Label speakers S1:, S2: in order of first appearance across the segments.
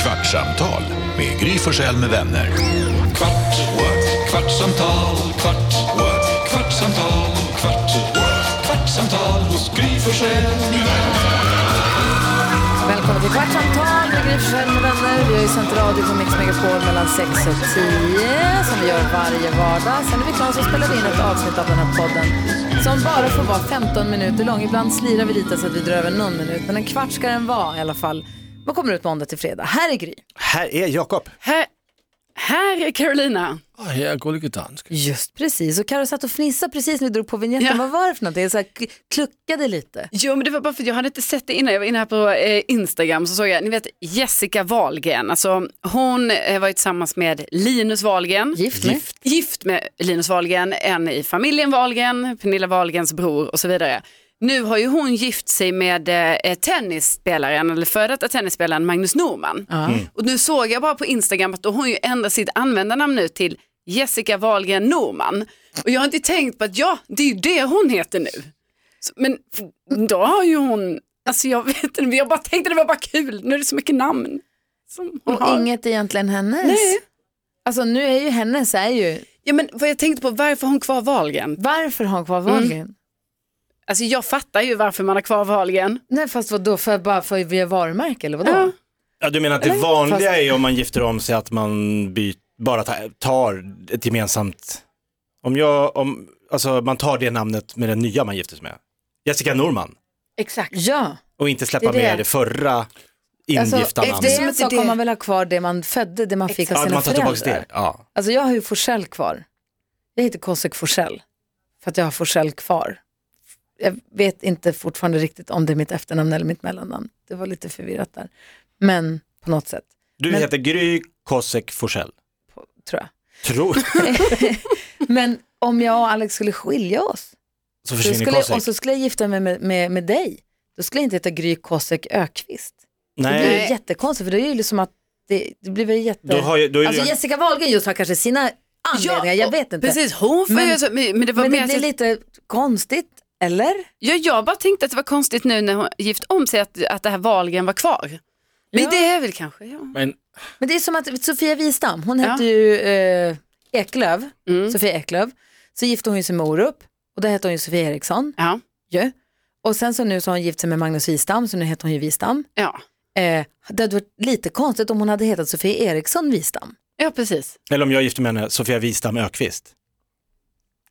S1: Kvartsamtal med Gry Forssell med vänner. Kvart, what? kvartsamtal, kvart, what? kvartsamtal, kvart, what? kvartsamtal hos Gry Forssell med vänner.
S2: Välkommen till Kvartsamtal med Gry Forssell med vänner. Vi har ju sänt radio på Mix Megapol mellan 6 och 10 som vi gör varje vardag. Sen är vi klara så spelar vi in ett avsnitt av den här podden som bara får vara 15 minuter lång. Ibland slirar vi lite så att vi drar över någon minut, men en kvart ska den vara i alla fall. Man kommer ut måndag till fredag. Här är Gry.
S3: Här är Jakob.
S4: Här, här är Carolina.
S3: Här är Gullige Dansk.
S2: Just precis. Och Karo satt och fnissade precis när vi drog på vignetten.
S4: Ja.
S2: Vad var det för någonting? Så här, k- kluckade lite.
S4: Jo men det var bara för att jag hade inte sett det innan. Jag var inne här på eh, Instagram så såg jag, ni vet Jessica Wahlgren. Alltså hon eh, var ju tillsammans med Linus Wahlgren.
S2: Gift med.
S4: Gift med Linus Wahlgren, en i familjen Wahlgren, Pernilla Wahlgrens bror och så vidare. Nu har ju hon gift sig med eh, tennisspelaren, eller före detta tennisspelaren Magnus Norman. Och nu såg jag bara på Instagram att då har hon ju ändrat sitt användarnamn nu till Jessica Wahlgren Norman. Och jag har inte tänkt på att ja, det är ju det hon heter nu. Så, men då har ju hon, alltså jag vet inte, men jag bara tänkte det var bara kul, nu är det så mycket namn. Som hon
S2: Och
S4: har.
S2: inget egentligen hennes.
S4: Nej.
S2: Alltså nu är ju hennes är ju,
S4: Ja men vad jag tänkte på, varför har hon kvar Wahlgren?
S2: varför har hon kvar
S4: Mm.
S2: Wahlgren?
S4: Alltså jag fattar ju varför man har kvar Wahlgren.
S2: Nej, fast vad då för bara för via varumärke eller vadå?
S4: Ja.
S3: Ja, du menar att det vanliga är om man gifter om sig att man byt, bara ta- tar ett gemensamt, om jag, om, alltså man tar det namnet med den nya man gifter sig med. Jessica Norman.
S2: Exakt. Ja,
S3: Och inte släppa
S2: Det är det.
S3: med det förra
S2: alltså,
S3: ingifta
S2: efter
S3: namnet.
S2: det så kommer man väl ha kvar det man födde, det man fick av
S3: Ja,
S2: sina
S3: man tar tillbaka
S2: föräldrar.
S3: det. Ja.
S2: Alltså jag har ju Forsell kvar. Jag heter Kosek Forsell för att jag har Forsell kvar. Jag vet inte fortfarande riktigt om det är mitt efternamn eller mitt mellannamn. Det var lite förvirrat där. Men på något sätt,
S3: Du
S2: Men-
S3: heter Gry Kosek Forsell.
S2: på, tror jag.
S3: Tror
S2: Men om jag och Alex skulle skilja oss
S3: så
S2: så
S3: försvinner
S2: skulle jag, och
S3: Kosek.
S2: så skulle jag gifta mig med, med, med dig, då skulle jag inte heta Gry Kosek Ökvist. Det blir
S3: Nej,
S2: ju jättekonstigt för det är ju liksom att det, det blir väl jätte...
S3: då har jag, då är
S2: Alltså
S3: jag,
S2: Jessica Wahlgren just har kanske sina anledningar, jag
S4: och-
S2: vet inte.
S4: Precis, hon får
S2: Men-
S4: men, ju, så- men men det var
S2: Men
S4: mer
S2: det
S4: att
S2: blir
S4: jag-
S2: lite konstigt, eller?
S4: ja, jag bara tänkte att det var konstigt nu när hon gift om sig att, att det här Wahlgren var kvar. Men
S2: Ja.
S4: det är väl kanske, ja.
S3: men
S2: Men det är som att Sofia Wistam, hon
S4: Ja.
S2: hette ju eh, Eklöf,
S4: Mm.
S2: Sofia Eklöf. Så gifte hon ju sig med Orup och där hette hon ju Sofia Eriksson
S4: ja.
S2: ju. Och sen så nu så har hon gift sig med Magnus Wistam, så nu heter hon ju Wistam.
S4: Ja,
S2: Eh, det hade varit lite konstigt om hon hade hetat Sofia Eriksson Wistam.
S4: ja precis.
S3: eller om jag gifter mig med henne, Sofia Wistam Ökvist.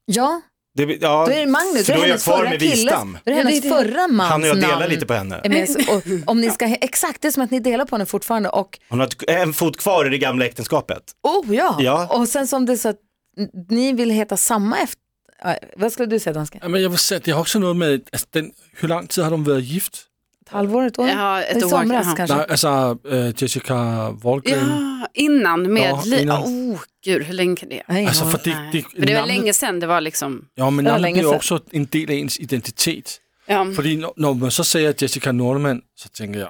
S2: Ja,
S3: Det, ja,
S2: då är det Magnus,
S3: för
S2: då
S3: då
S2: är
S3: är jag
S2: hennes
S3: kvar
S2: förra
S3: med
S2: killes,
S3: Wistam.
S2: då är det hennes förra mans
S3: Han och jag delar
S2: namn.
S3: lite på henne.
S2: Är med, och, om ni ska, exakt, det är som att ni delar på henne fortfarande. Och,
S3: Hon har ett- en fot kvar i det gamla äktenskapet.
S2: oh ja.
S3: Ja.
S2: och sen som det är så att n- ni vill heta samma efter... äh, Vad skulle du säga danska?
S5: Ja, men jag vill säga, det har också något med, alltså, den, hur lång tid har de varit gift?
S2: Ett halvår, ett år?
S4: Ja, ett
S2: I
S4: år,
S2: somras
S4: jaha.
S2: kanske?
S5: Nej, alltså eh, Jessica Wahlgren.
S4: Ja, innan med
S5: Ja,
S4: Li-
S5: innan.
S4: Oh, gud, hur länge kan det?
S2: Nej,
S5: Alltså,
S2: ja.
S5: för det,
S4: Nej.
S5: det,
S4: För det var
S5: namnet-
S4: länge sedan det var liksom,
S5: Ja, men
S2: Det var
S5: namnet
S2: länge
S5: blir
S2: sedan.
S5: också en del av ens identitet.
S4: ja.
S5: För när, när man så säger Jessica Norman så tänker jag,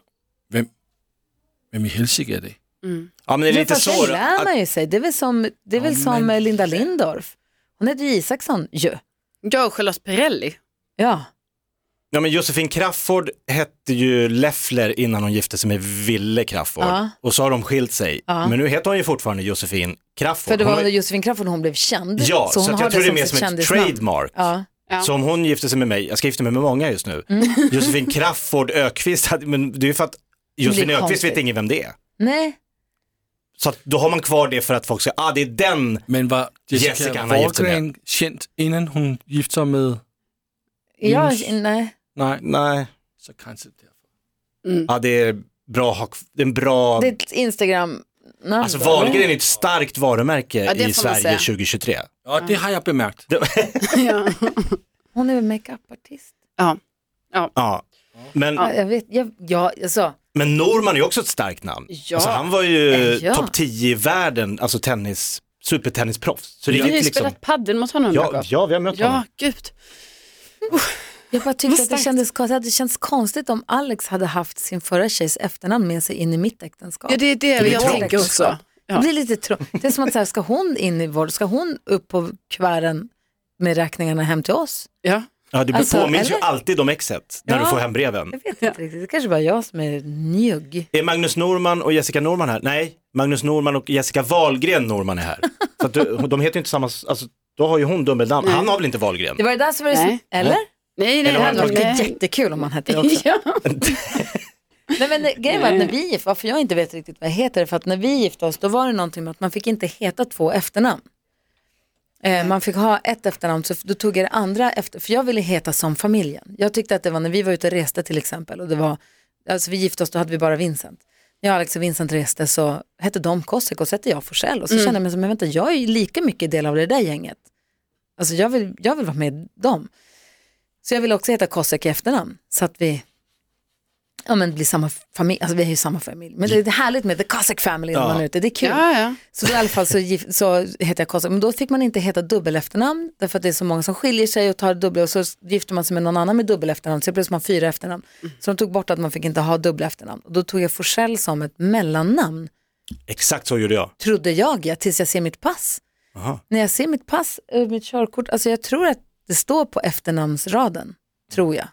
S5: vem, vem i helsike är det?
S3: Ja men det är
S2: Men
S3: lite
S2: fast
S3: så.
S2: det lär man ju sig. Det är väl som, det är väl
S5: Ja,
S2: som
S5: men-
S2: eh, Linda Lindorff. Hon heter ju Isaksson ju.
S4: Jag och Charlotte Perrelli.
S2: Ja.
S3: Ja men Josefin Crafoord hette ju Leffler innan hon gifte sig med Ville Crafoord.
S2: Ja.
S3: Och så har de skilt sig.
S2: Ja.
S3: Men nu heter hon ju fortfarande Josefin Crafoord.
S2: För det
S3: Hon
S2: var
S3: var-
S2: under Josefin Crafoord hon blev känd.
S3: Ja, så,
S2: hon
S3: att
S2: har
S3: jag tror det är mer
S2: sitt
S3: som ett
S2: kändisnamn.
S3: trademark.
S2: Ja. Mm.
S4: Ja.
S3: Så om hon gifte sig med mig, jag ska gifta mig med många just nu. Josefin Crafoord Ökvist, hade- men det är ju för att Josefin
S2: blir
S3: Ökvist
S2: konstigt.
S3: vet ingen vem det är.
S2: Nej,
S3: Så att då har man kvar det för att folk säger, ah det är den.
S5: Men var Jessica,
S3: Jessica han har gift sig med.
S5: Wahlgren känd innan hon gifte sig med,
S2: ja,
S5: Minns-
S2: nej.
S5: nej,
S3: Nej.
S5: så kanske därför.
S3: Ja det är bra, att ha kv- det är en bra
S2: det är ett Instagram
S3: Alltså Wahlgren är ett starkt varumärke
S4: Ja, det
S3: i
S4: får man
S3: Sverige
S4: säga.
S3: 2023.
S5: Ja, det har jag bemärkt.
S4: Ja.
S2: Hon är väl makeupartist?
S4: Ja.
S3: Ja. Men,
S2: Ja. Jag vet, jag, ja, alltså,
S3: men Norman är ju också ett starkt namn.
S4: Ja. Eh,
S3: Alltså, han var ju
S2: Ja.
S3: topp 10 i världen, alltså tennis, supertennisproffs. Så det
S4: Vi
S3: är
S4: har ju
S3: lite liksom,
S4: spelat padel mot honom.
S3: ja,
S4: Jakob.
S3: ja, vi har mött honom.
S4: ja gud.
S2: jag bara tyckte att det
S4: starkt.
S2: kändes, konstigt, det hade känts konstigt om Alex hade haft sin förra tjejs efternamn med sig in i mitt äktenskap.
S4: Ja, det är det vi
S3: blir trångt.
S4: tänker också.
S2: Det
S4: Ja.
S2: blir lite tro. Det är som att så här, ska hon in i vår, ska hon upp på kvären med räkningarna hem till oss?
S4: Ja.
S3: Ja, du
S2: Alltså,
S3: påminns ju
S2: eller?
S3: alltid om exet när
S2: Ja.
S3: du får hem breven.
S2: Jag vet inte riktigt, det kanske bara jag som är njugg.
S3: Är Magnus Norman och Jessica Norman här? Nej, Magnus Norman och Jessica Wahlgren Norman är här. Så att du, de heter ju inte samma, alltså, då har ju hon dubbelnamn. Han har väl inte Wahlgren?
S2: Det var det där som var det
S4: Nej.
S2: så- Eller?
S4: Nej, nej,
S3: Eller
S2: Det
S3: var
S2: hade varit
S4: nej.
S2: jättekul om man hette det också.
S4: Ja.
S2: Nej, men det- grejen var att när vi gift, varför jag inte vet riktigt vad jag heter, är för att när vi gifte oss då var det någonting med att man fick inte heta två efternamn. Eh, man fick ha ett efternamn, så f- då tog jag det andra efter, för jag ville heta som familjen. Jag tyckte att det var när vi var ute och reste till exempel, och det var, alltså vi gifte oss, då hade vi bara Vincent. När jag, Alex och Vincent reste så hette de Kosek och så hette jag Forsell och så kände jag mig som, men vänta, jag är ju lika mycket del av det där gänget. Alltså jag vill, jag vill vara med dem. Så jag vill också heta Kosek i efternamn, så att vi ja, men blir samma familj, alltså vi är ju samma familj. Men det är härligt med the Cossack family när
S3: Ja.
S2: man är ute, det är kul.
S4: Ja, ja.
S2: Så då i alla fall så, gif- så heter jag Kossack, men då fick man inte heta dubbelefternamn därför att det är så många som skiljer sig och tar dubbla och så gifter man sig med någon annan med dubbelefternamn så plötsligt har man fyra efternamn. Så de tog bort att man fick inte ha dubbelefternamn och då tog jag Forsell som ett mellannamn
S3: Exakt så gjorde jag.
S2: trodde jag ja, tills jag ser mitt pass.
S3: Aha.
S2: När jag ser mitt pass, eh, mitt körkort, alltså jag tror att det står på efternamnsraden, tror jag,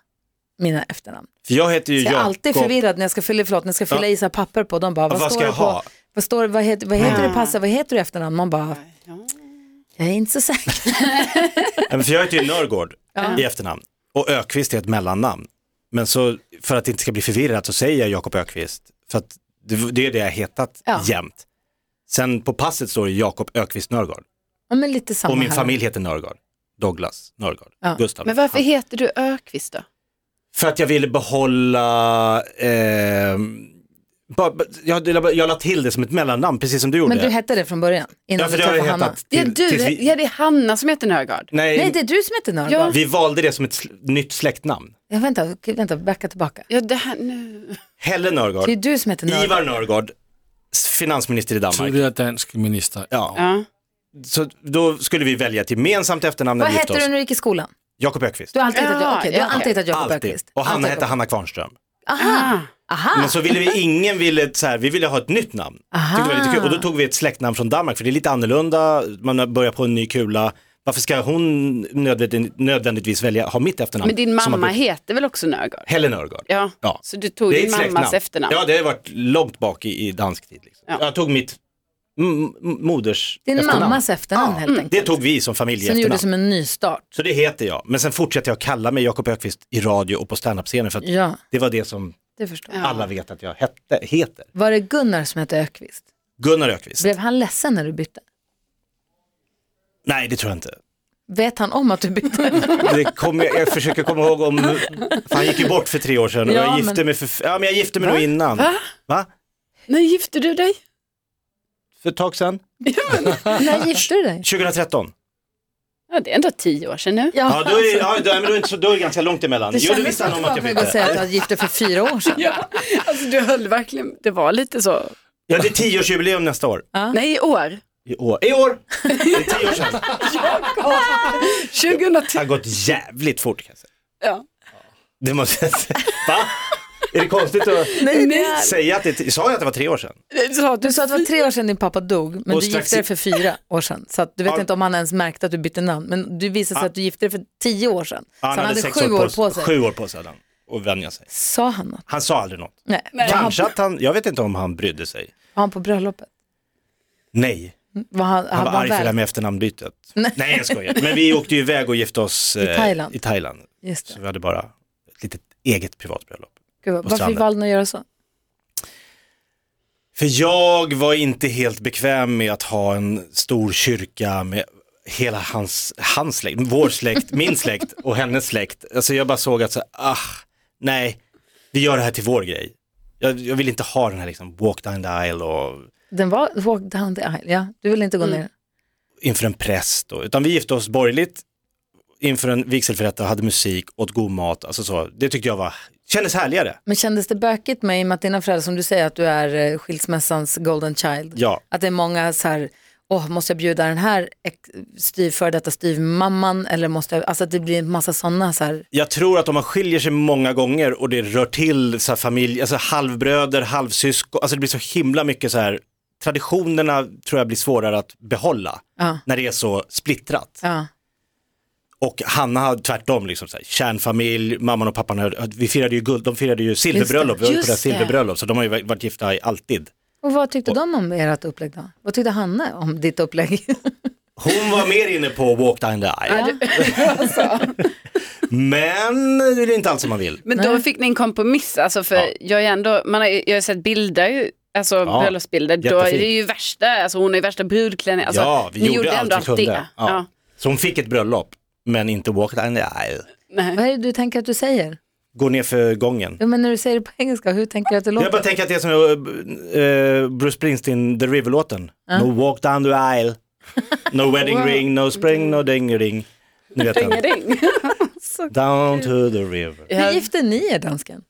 S2: mina efternamn.
S3: För jag heter ju
S2: Så jag är
S3: Jakob.
S2: alltid förvirrad när jag ska fylla, förlåt, när jag ska fylla
S3: Ja.
S2: i så här papper på. De bara, vad,
S3: vad
S2: står
S3: ska
S2: det
S3: jag ha? Mm.
S2: på? Vad, står, vad heter, vad heter det passa? Vad heter du i efternamn? Man bara, jag är inte så säker.
S3: Nej, men För jag heter ju Nörgård i efternamn och Ökvist är ett mellannamn. Men så för att det inte ska bli förvirrat så säger jag Jakob Ökvist för att det, det är det jag hetat
S2: Ja.
S3: jämt. Sen på passet står det Jakob Ökvist Nörgård
S2: Ja, men lite samma
S3: och min
S2: här.
S3: familj heter Nörgård. Douglas Nörgård,
S2: Ja.
S3: Gustav.
S4: Men varför
S3: Han.
S4: heter du Ökvist då?
S3: För att jag ville behålla, eh, ba, ba, jag, jag la till det som ett mellannamn precis som du gjorde.
S2: Men du hette det från början? Innan
S3: ja, för
S2: du
S3: det har jag
S2: träffade Hanna.
S3: hetat
S4: Ja,
S3: till-
S4: du,
S3: tills vi,
S4: ja, det är Hanna som heter Nörgard.
S3: nej,
S2: Nej, det är du som heter Nörgård.
S3: vi valde det som ett sl- nytt släktnamn.
S2: Ja, vänta, okej, vänta, backa tillbaka.
S4: Ja, det här, nu.
S3: Helle Nörgård.
S2: Det är du som heter Nörgård.
S3: Ivar Nörgård, s- finansminister i Danmark.
S5: Tidligere dansk minister.
S3: Ja,
S4: Ja.
S3: så då skulle vi välja ett gemensamt efternamn när
S2: Vad
S3: vi gifte
S2: hette du
S3: oss.
S2: när du gick i skolan?
S3: Jakob Ökvist.
S2: Du har alltid hetat,
S4: Ja,
S2: ja, du har
S4: ja,
S2: alltid hetat Jakob
S3: Alltid.
S2: Öqvist.
S3: Och Hanna
S2: Alltid
S3: hette
S2: Jakob. Ah.
S3: Hanna Kvarnström.
S4: Ah.
S2: Aha, aha.
S3: Men så ville vi, ingen ville, så här, vi ville ha ett nytt namn.
S2: Aha.
S3: Tyckte det var lite kul. Och då tog vi ett släktnamn från Danmark, för det är lite annorlunda, man börjar på en ny kula. Varför ska hon nödvändigt- nödvändigtvis välja, ha mitt efternamn?
S4: Men din
S3: som har
S4: mamma
S3: blivit-
S4: heter väl också Nörgard?
S3: Helle Nørgaard.
S4: Ja.
S3: Ja.
S4: så du tog din
S3: ett
S4: mammas efternamn.
S3: Ja, det har varit långt bak i, i dansk tid. Liksom.
S4: Ja.
S3: Jag tog mitt m- m- moders
S2: Din
S3: efternamn.
S2: mammas efternamn helt enkelt.
S3: Det tog vi som familj
S2: Som
S3: efternamn.
S2: gjorde som en ny start.
S3: Så det heter jag. Men sen fortsätter jag kalla mig Jakob Ökvist i radio och på standup-scenen för att
S2: Ja,
S3: det var det som
S2: det förstår jag.
S3: alla vet att jag hette, heter.
S2: Var det Gunnar som hette Ökvist?
S3: Gunnar Ökvist.
S2: Blev han ledsen när du bytte?
S3: Nej, det tror jag inte.
S2: Vet han om att du bytte?
S3: Det kom, jag, jag försöker komma ihåg om... för Han gick ju bort för tre år sedan och
S2: Ja,
S3: jag gifte
S2: men-
S3: mig för... Ja, men jag gifte mig nog innan.
S4: Va?
S3: Va?
S4: När gifte du dig?
S3: För ett tag sedan.
S2: när gifte du dig?
S3: 2013.
S4: Ja, det är ändå tio år sedan nu.
S3: Ja, då är, ja, då, men då är det inte så, då är det ganska långt emellan.
S2: det
S3: Jo, det
S2: kändes
S3: visste
S2: som
S3: han
S2: att
S3: om
S2: du
S3: att
S2: var på väg
S3: jag
S2: att säga
S3: bytte.
S2: att jag gifte för fyra år sedan.
S4: Ja, alltså du höll verkligen, det var lite så.
S3: Ja, det är tioårsjubileum nästa år.
S4: Nej, i år.
S3: I år. I år! Det är tio år sedan.
S4: 2010.
S3: Det har gått jävligt fort kan jag säga.
S4: Ja.
S3: Det måste jag säga. Va? Är det konstigt att
S4: Nej,
S3: säga att det, sa jag att det var tre år sedan?
S4: du sa att
S2: Du sa att det var tre år sedan din pappa dog, men
S3: Och
S2: du
S3: strax
S2: gifte dig
S3: i-
S2: för fyra år sedan. Så att du vet
S3: Ja.
S2: inte om han ens märkte att du bytte namn, men du visade sig att du gifte dig för tio år sedan. Så han hade
S3: sex
S2: sju år på sig.
S3: Sju år på sig hade han och vänja sig.
S2: Sa han något?
S3: Han sa aldrig något.
S2: Nej. Var han,
S3: Kanske att han, jag vet inte om han brydde sig.
S2: var han på bröllopet? Mm.
S3: Nej,
S2: Var han,
S3: han var arg för det här
S2: väl?
S3: med efternamnbytet. Nej. jag skojar. Men vi åkte ju iväg och gifte oss eh,
S2: Thailand.
S3: i Thailand.
S2: Just
S3: Så
S2: det.
S3: vi hade bara ett litet eget privatbröllop.
S2: Gud, vad- varför
S3: stranden.
S2: valde ni att göra så?
S3: För jag var inte helt bekväm med att ha en stor kyrka med hela hans, hans släkt, vår släkt, min släkt och hennes släkt. Alltså jag bara såg att så, ah, nej, vi gör det här till vår grej. Jag, jag vill inte ha den här liksom walk down the aisle och
S2: Den var walk down the aisle, ja. Du ville inte gå ner.
S3: inför en präst. Och, utan vi gifte oss borgerligt inför en vigselförrättare, hade musik, åt god mat, alltså så. Det tyckte jag var, kändes härligare.
S2: Men kändes det bökigt med, i och med att dina föräldrar, som du säger, att du är eh, skilsmässans golden child?
S3: Ja.
S2: Att det är många så här, åh, måste jag bjuda den här ex- styv, före detta styvmamman? Eller måste jag, alltså att det blir en massa sådana så här.
S3: Jag tror att om man skiljer sig många gånger och det rör till så här familj, alltså halvbröder, halvsyskon, alltså det blir så himla mycket så här, traditionerna tror jag blir svårare att behålla
S2: Ja.
S3: när det är så splittrat.
S2: Ja.
S3: Och Hanna hade tvärtom, liksom, så här, kärnfamilj, mamman och pappan, hade- vi firade ju guld, de firade ju silverbröllop, vi var ju på
S2: Just
S3: deras
S2: det.
S3: silverbröllop, så de har ju varit gifta i alltid.
S2: Och vad tyckte de om ert upplägg då? Vad tyckte Hanna om ditt upplägg?
S3: Hon var mer inne på walk down the aisle.
S2: Alltså.
S3: Men det är inte allt som man vill.
S4: Men då fick ni en kompromiss, alltså för
S3: Ja.
S4: jag, är ändå, man har, ju- jag har sett bilder, alltså bröllopsbilder, då är det
S3: jättefint.
S4: ju värsta, alltså hon är ju värsta brudklänning, alltså,
S3: ja, vi
S4: ni
S3: gjorde, allt vi
S4: ändå
S3: kunde.
S4: det.
S3: Ja.
S4: Ja.
S3: Så hon fick ett bröllop, men inte walk down the aisle.
S4: Nej.
S2: vad är det du tänker att du säger?
S3: Gå ner för gången.
S2: Jo, men när du säger det på engelska, hur tänker du att det låter?
S3: Jag bara tänker att det är som eh, Bruce Springsteen, The River-låten. No walk down the aisle, no wedding ring, no spring, no ding ring. Ni vet den.
S4: Ding.
S3: Down to the river.
S2: Hur gifte ni er dansken?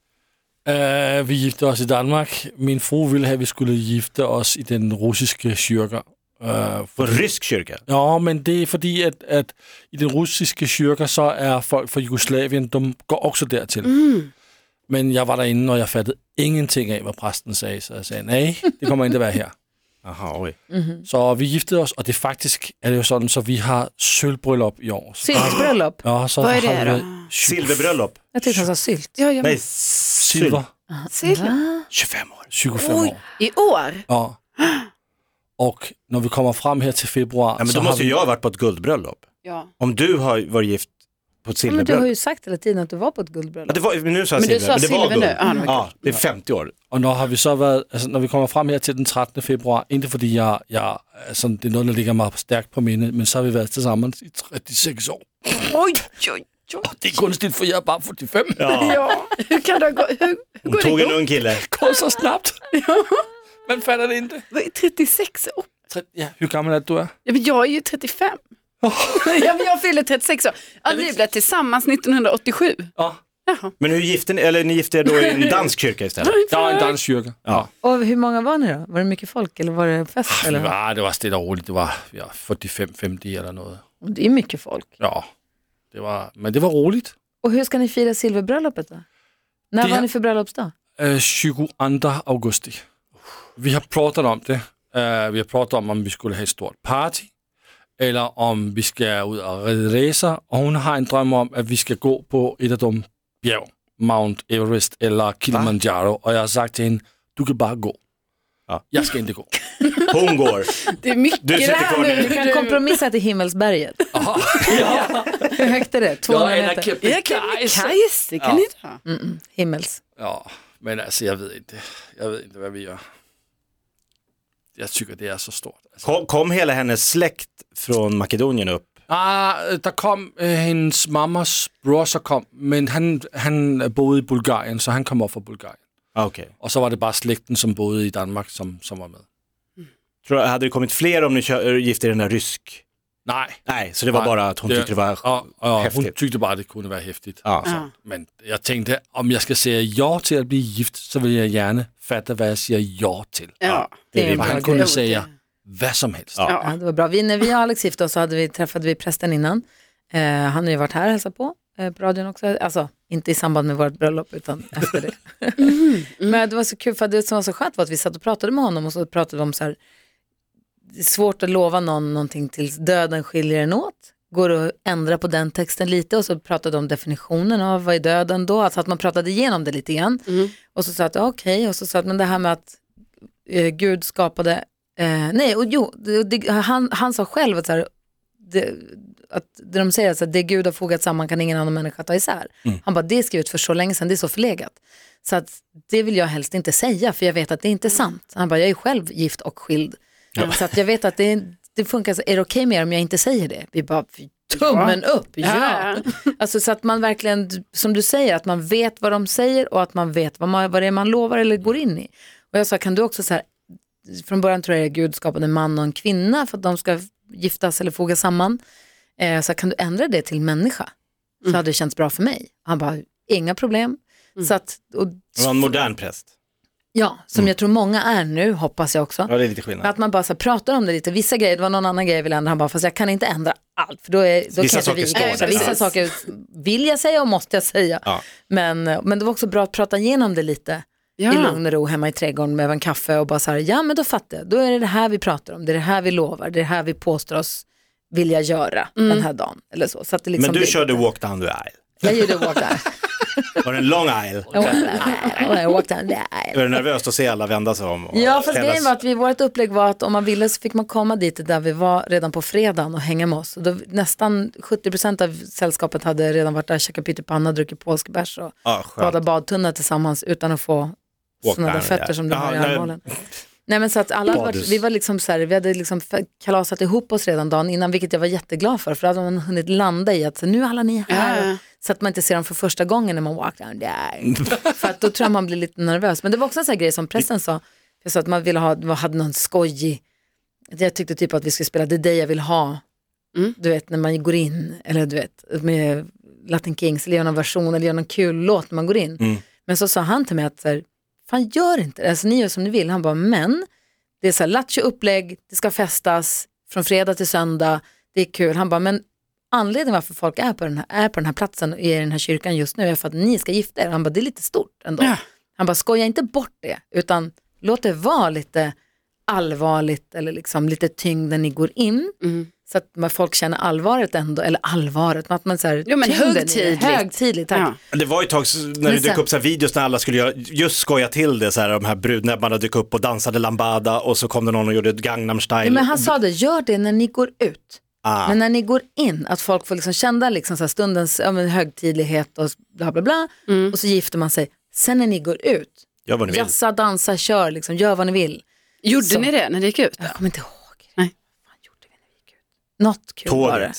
S5: Øh, vi gifte os i Danmark. Min fru ville have, at vi skulle gifte os i den russiske kyrker. Øh,
S3: På
S5: for...
S3: en rysk kyrka.
S5: Ja, men det er fordi, at, at i den russiske kyrker, så er folk fra Jugoslavien, de går også dertil.
S4: Mm.
S5: Men jeg var derinde, og jeg fattede ingenting af, hvad præsten sagde. Så jeg sagde, nej, det kommer ikke at være her.
S3: Aha, oj.
S5: Så vi giftede os, og det faktisk er det jo sådan, så vi har sølvbryllup i år.
S2: Syltbröllop?
S5: Ja, så
S4: Vad är
S5: har
S4: det
S5: vi
S4: då?
S5: været-
S3: Silverbröllop.
S2: Jag tyckte han sa sylt.
S4: Ja, jag
S3: Nej,
S4: Nej.
S3: silver.
S5: Silver.
S4: Silver.
S3: 25 år.
S4: Oj,
S5: 25 år.
S4: i år?
S5: Ja. Och när vi kommer fram här till februari
S3: Ja, men då
S5: så
S3: måste
S5: har vi...
S3: ju jag ha varit på ett guldbröllop.
S4: Ja.
S3: Om du har varit gift på ett
S2: Ja, men du
S3: silverbröllop.
S2: har ju sagt hela tiden att du var på ett
S3: Ja,
S2: guldbröllop.
S3: det var, men nu sa jag
S4: Men du
S3: silver,
S4: sa
S3: men det var
S4: silver
S3: guld.
S4: nu. Ja, det var
S3: Ja, det är 50 år.
S5: Och när har vi så varit, alltså, när vi kommer fram här till den 13 februari, inte för att jag, jag alltså, det är något som ligger mig starkt på minnet, men så har vi varit tillsammans i 36 år.
S4: Oj, oj, oj.
S5: Och det är konstigt för jag är bara 45.
S3: Ja.
S4: Ja, hur kan det gå? Hur, hur
S3: Hon
S4: går
S3: tog
S4: det
S3: en
S4: ihop?
S3: ung kille.
S5: Det går så snabbt. Man fattar det inte.
S4: Vad är 36 år?
S5: Tre- Ja, hur gammal är du? Är?
S4: Ja, men jag är ju 35. ja, men jag fyller 36 år. Ja, vi blev tillsammans 1987.
S5: Ja.
S4: Jaha.
S3: Men hur gifte ni, eller ni gifte er då i en dansk kyrka istället?
S5: Jag är en dansk kyrka.
S3: Ja.
S2: Och hur många var ni då? Var det mycket folk eller var det fest?
S5: Det
S2: Eller?
S5: var, ah, det var stille og roligt. Det var ja, 45-50 eller noget.
S2: Det är mycket folk.
S5: Ja, det var, men det var roligt.
S2: Och hur ska ni fira silverbröllopet då? När
S5: Det-
S2: var ni för bröllopsdag?
S5: Øh, 22. augusti. Vi har pratat om det. Øh, vi har pratat om, om vi skulle have et stort party, eller om vi skal ud og ride racer, og hun har en drøm om, at vi skal gå på et af dem bjerg, Mount Everest eller Kilimanjaro, og jeg har sagt til hende, du kan bare gå.
S3: Ja.
S5: Jeg skal ikke gå.
S3: Hon går.
S4: Det är mycket
S3: Du sitter kvar
S4: där
S3: nu.
S2: Vi kan kompromissa till Himmelsberget. Hur högt är det? 200
S5: Jeg er
S2: meter?
S5: kæmpe
S4: Jag kan bli
S5: kejser.
S4: kajs, det kan ni ta.
S2: Himmels.
S5: Ja, men altså, jeg ved ikke, jeg ved ikke, hvad vi gør. Jeg tykker, det er så stort. Altså.
S3: Kom, kom hela hennes släkt från Makedonien upp?
S5: Ah, øh, der kom øh, hendes mammas bror, så kom, men han, han boede i Bulgarien, så han kom op fra Bulgarien.
S3: Ah, Okej.
S5: Og så var det bare slægten, som boede i Danmark, som, som var med.
S3: Tror, hade det kommit fler om ni kö- eh, gifte er i den där rysk?
S5: Nej.
S3: Nej, så det var bara att hon tyckte det var...
S5: Og, og hun
S3: hæftigt.
S5: tykte bare, at det kunne være hæftigt.
S3: Ja, så.
S4: Ja.
S5: Men jeg tænkte, om jeg skal sige ja til at blive gift, så vil jeg gerne fatte, hvad jeg siger ja til.
S4: Ja.
S3: Det är
S5: Og
S3: rimligt.
S5: han
S4: det er
S5: kunne
S4: jo
S5: sige
S4: det.
S5: ja, hvad som helst.
S3: Ja.
S2: Ja, det var bra. Vi, när vi och Alex gifte oss så hade vi, träffade vi prästen innan. Eh, han har ju varit här och hälsat på eh, på radion också. Alltså, inte i samband med vårt bröllop utan efter det. Men det var så kul, för det som var så skönt var att vi satt och pratade med honom och så pratade vi om så här, det är svårt att lova någon någonting tills döden skiljer en åt. Går det att ändra på den texten lite och så pratade de om definitionen av vad är döden då, alltså att man pratade igenom det lite grann. Och så sa att ja, okej, och så sa att men det här med att eh, Gud skapade, eh, nej, och jo, det, det, han, han sa själv att, så här, det, att det de säger, så att det Gud har fogat samman kan ingen annan människa ta isär. Han bara, det är skrivet för så länge sedan, det är så förlegat. Så att det vill jag helst inte säga, för jag vet att det är inte sant. Han bara, jag är själv gift och skild. Så att jag vet att det, det funkar, så är det okej med er om jag inte säger det? Vi bara, tummen upp, ja.
S4: Ja.
S2: Alltså så att man verkligen, som du säger, att man vet vad de säger och att man vet vad, man, vad det är man lovar eller går in i. Och jag sa, kan du också så här, från början tror jag att Gud skapade en man och en kvinna för att de ska giftas eller fogas samman. Eh, så kan du ändra det till människa?
S3: Mm.
S2: Så hade det känts bra för mig. Han bara, inga problem. Så att, och,
S3: Det var en Mm. modern präst.
S2: ja, som jag tror många är nu, hoppas jag också.
S3: Ja, det är lite skillnad.
S2: Att man bara så här, pratar om det lite, vissa grejer, det var någon annan grej jag ville ändra, han bara, fast jag kan inte ändra allt, för då, är, då
S3: Vissa
S2: kan
S3: saker
S2: jag inte
S3: står
S2: vika.
S4: där.
S2: Så här, Vissa
S4: Precis.
S2: saker vill jag säga och måste jag säga.
S3: Ja.
S2: Men, men det var också bra att prata igenom det lite
S4: Ja.
S2: i lugn och ro hemma i trädgården med en kaffe och bara så här, ja men då fattar jag, då är det det här vi pratar om, det är det här vi lovar, det är det här vi påstår oss vill jag göra den här dagen? Eller så. så att det liksom
S3: Men du
S2: blir-
S3: körde walk down the aisle.
S2: Jag gjorde walk down.
S3: Var det en long aisle?
S2: Jag walk down the aisle.
S3: Var det nervöst att se alla vända sig om? och
S2: Ja, fast
S3: hela-
S2: grejen var att vi, vårt upplägg var att om man ville så fick man komma dit där vi var redan på fredagen och hänga med oss. Och då, nästan 70% av sällskapet hade redan varit där, käkat pyttipanna, druckit polsk bärs och
S3: Ja, skönt.
S2: badat badtunna tillsammans utan att få
S3: Walk
S2: sådana där
S3: down,
S2: fötter
S3: ja.
S2: som du har i
S3: Ja, nej.
S2: armhålan. Nej men så att alla hade varit,
S3: Badhus.
S2: vi var liksom så här, vi hade liksom f- kalasat ihop oss redan dagen innan, vilket jag var jätteglad för, för då hade man hunnit landa i att så, nu är alla ni här,
S4: Ja.
S2: så att man inte ser dem för första gången när man walk down there. för att då tror jag man blir lite nervös. Men det var också en sån här grej som pressen sa, jag sa att man ville ha, man hade någon skojig, att jag tyckte typ att vi skulle spela Det är dig jag vill ha, du vet när man går in, eller du vet med Latin Kings, eller gör någon version, eller gör någon kul låt när man går in. Men så sa han till mig att så här, fan gör inte det, alltså, ni gör som ni vill. Han bara, men det är så här lattjo upplägg, det ska festas från fredag till söndag, det är kul. Han bara, men anledningen varför folk är på den här, är på den här platsen och är i den här kyrkan just nu är för att ni ska gifta er. Han bara, det är lite stort ändå. Han bara, skoja inte bort det, utan låt det vara lite allvarligt eller liksom lite tyngd när ni går in.
S4: Mm.
S2: Så att man- folk känner allvaret ändå, eller allvaret, men att man så här,
S4: Jo, men
S2: tyngden i det.
S4: högtidligt.
S2: högtidligt tack.
S4: Ja.
S3: Det var ju ett tag s- när
S2: Men
S3: det dök
S2: sen-
S3: upp så här videos när alla skulle göra, just skoja till det, så här, de här brudnäbbarna dök upp och dansade lambada och så kom det någon och gjorde ett Gangnam style.
S2: Nej, Men han sa det, gör det när ni går ut.
S3: Ah.
S2: Men när ni går in, att folk får liksom känna liksom så här stundens ja, men högtidlighet och bla bla bla.
S4: Mm.
S2: Och så gifter man sig. Sen när ni går ut,
S3: Gör vad ni vill.
S2: jassa, dansa, kör, liksom, gör vad ni vill.
S4: Gjorde ni det när det gick ut?
S2: Jag kommer inte ihåg.
S4: Nej.
S2: Vad fan gjorde vi när vi gick ut? Något kul var det.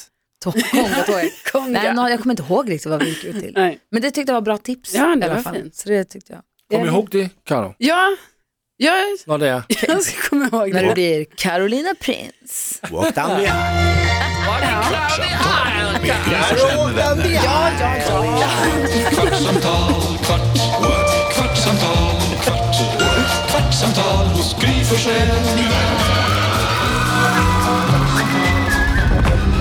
S3: Tåget.
S2: Tå- Konga, tåget.
S4: Konga.
S2: Nej, nå- jag kommer inte ihåg riktigt vad vi gick ut till.
S4: Nej.
S2: Men det tyckte jag var bra tips.
S4: Ja, det
S2: i alla
S4: var
S2: fall.
S4: fint.
S2: Så det tyckte jag.
S5: Kom ihåg det, Karo.
S4: Ja, jag,
S5: Når det är.
S4: jag ska komma ihåg
S2: När du
S4: det.
S2: blir Carolina Prins.
S3: Walk down the aisle.
S1: Med Gry Forssell med vänner. Kvartsamtal, kvart, what? kvartsamtal, kvart, what? kvartsamtal hos Gry Forssell med vänner.